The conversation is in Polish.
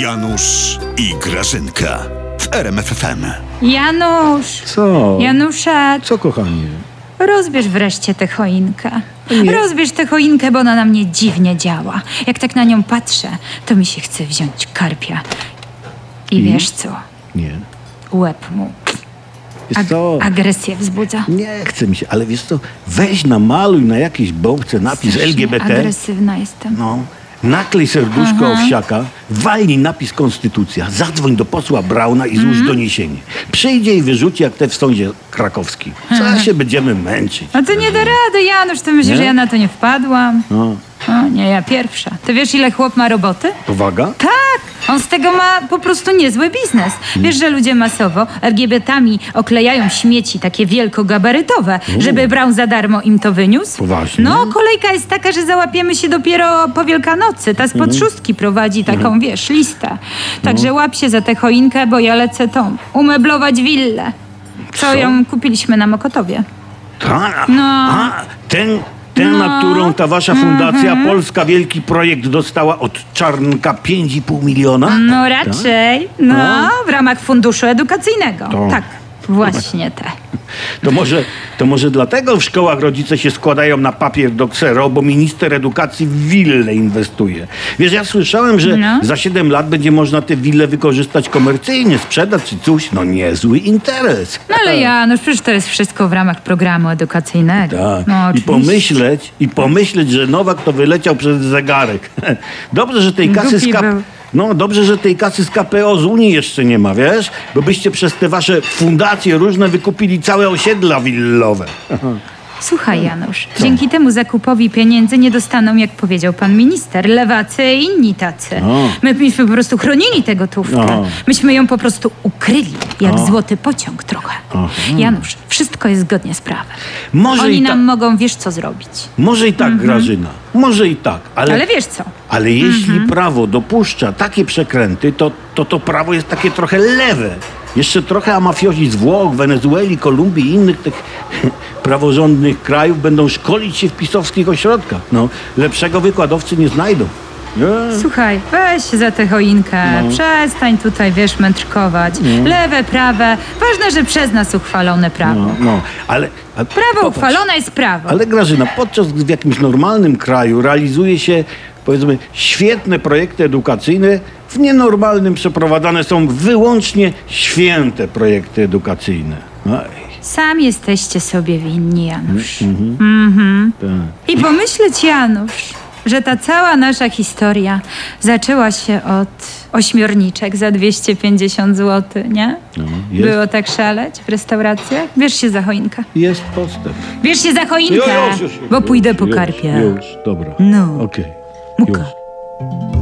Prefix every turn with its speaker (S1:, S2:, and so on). S1: Janusz i Grażynka w RMFFM.
S2: Janusz!
S3: Co?
S2: Janusza,
S3: Co, kochanie?
S2: rozbierz wreszcie tę choinkę.
S3: Nie.
S2: Rozbierz tę choinkę, bo ona na mnie dziwnie działa. Jak tak na nią patrzę, to mi się chce wziąć karpia. I wiesz co?
S3: Nie.
S2: Łeb mu.
S3: Wiesz co?
S2: Agresję wzbudza.
S3: Nie chce mi się, ale wiesz co? Weź namaluj na jakiejś bombce napis
S2: Strasznie
S3: LGBT.
S2: Agresywna jestem.
S3: No. Naklej serduszko owsiaka, walnij napis Konstytucja, zadzwoń do posła Brauna i złóż doniesienie. Przyjdzie i wyrzuci jak te w sądzie krakowskim. Co się będziemy męczyć?
S2: A to nie da rady, Janusz, ty myślisz,
S3: No. Nie?
S2: że ja na to nie wpadłam?
S3: No.
S2: O, nie, ja pierwsza. Ty wiesz, ile chłop ma roboty?
S3: Powaga?
S2: Tak! On z tego ma po prostu niezły biznes.
S3: Mm.
S2: Wiesz, że ludzie masowo LGBT-ami oklejają śmieci takie wielkogabarytowe, żeby Brown za darmo im to wyniósł?
S3: Poważnie?
S2: No, kolejka jest taka, że załapiemy się dopiero po Wielkanocy. Ta
S3: Mhm.
S2: spod szóstki prowadzi taką, wiesz, listę.
S3: No.
S2: Także łap się za tę choinkę, bo ja lecę tą. Umeblować willę. Co,
S3: Co?
S2: ją kupiliśmy na Mokotowie.
S3: Ta,
S2: No.
S3: A, ten, ten na którą ta wasza
S2: Mhm,
S3: fundacja Polska Wielki Projekt dostała od Czarnka 5,5 miliona?
S2: No raczej. No, w ramach funduszu edukacyjnego.
S3: To.
S2: Tak, właśnie te.
S3: To może, to może dlatego w szkołach rodzice się składają na papier do ksero, bo minister edukacji w willę inwestuje. Wiesz, ja słyszałem, że
S2: No.
S3: za 7 lat będzie można te wille wykorzystać komercyjnie, sprzedać czy coś. No niezły interes.
S2: No ale Janusz, przecież to jest wszystko w ramach programu edukacyjnego.
S3: Tak.
S2: No,
S3: I
S2: oczywiście.
S3: pomyśleć, i pomyśleć, że Nowak to wyleciał przez zegarek. Dobrze, że tej kasy z
S2: Głupi
S3: KP...
S2: był.
S3: No, dobrze, że tej kasy z KPO z Unii jeszcze nie ma, wiesz? Bo byście przez te wasze fundacje różne wykupili całe osiedla willowe.
S2: Słuchaj, Janusz, dzięki temu zakupowi pieniędzy nie dostaną, jak powiedział pan minister, lewacy i inni tacy.
S3: No.
S2: My myśmy po prostu chronili tę gotówkę.
S3: No.
S2: Myśmy ją po prostu ukryli, jak złoty pociąg trochę. Janusz, wszystko jest zgodnie z prawem.
S3: Może
S2: Oni
S3: i
S2: nam
S3: tak.
S2: mogą, wiesz co zrobić.
S3: Może i tak, Grażyna. Może i tak, ale...
S2: Ale wiesz co?
S3: ale jeśli
S2: Mhm.
S3: prawo dopuszcza takie przekręty, to, to to prawo jest takie trochę lewe. Jeszcze trochę a mafiozi z Włoch, Wenezueli, Kolumbii i innych tych praworządnych krajów będą szkolić się w pisowskich ośrodkach. No, lepszego wykładowcy nie znajdą.
S2: Słuchaj, weź się za tę choinkę.
S3: No.
S2: Przestań tutaj, wiesz, mędrkować. Lewe, prawe. Ważne, że przez nas uchwalone prawo.
S3: No, no, ale... A,
S2: Prawo
S3: popatrz.
S2: uchwalone jest prawo.
S3: Ale Grażyna, podczas gdy w jakimś normalnym kraju realizuje się, powiedzmy, świetne projekty edukacyjne, w nienormalnym przeprowadzane są wyłącznie święte projekty edukacyjne. No Aj,
S2: Sam jesteście sobie winni, Janusz.
S3: Mhm.
S2: Mhm.
S3: tak.
S2: I pomyśleć, Janusz, że ta cała nasza historia zaczęła się od ośmiorniczek za 250 zł, nie?
S3: No, jest.
S2: Było tak szaleć w restauracjach? Bierz się za choinkę.
S3: Jest postęp.
S2: Bierz się za choinkę,
S3: Już, już, już,
S2: bo
S3: już,
S2: pójdę po
S3: już,
S2: karpia.
S3: Już, dobra.
S2: No.
S3: Okej.
S2: Muka.
S3: Już.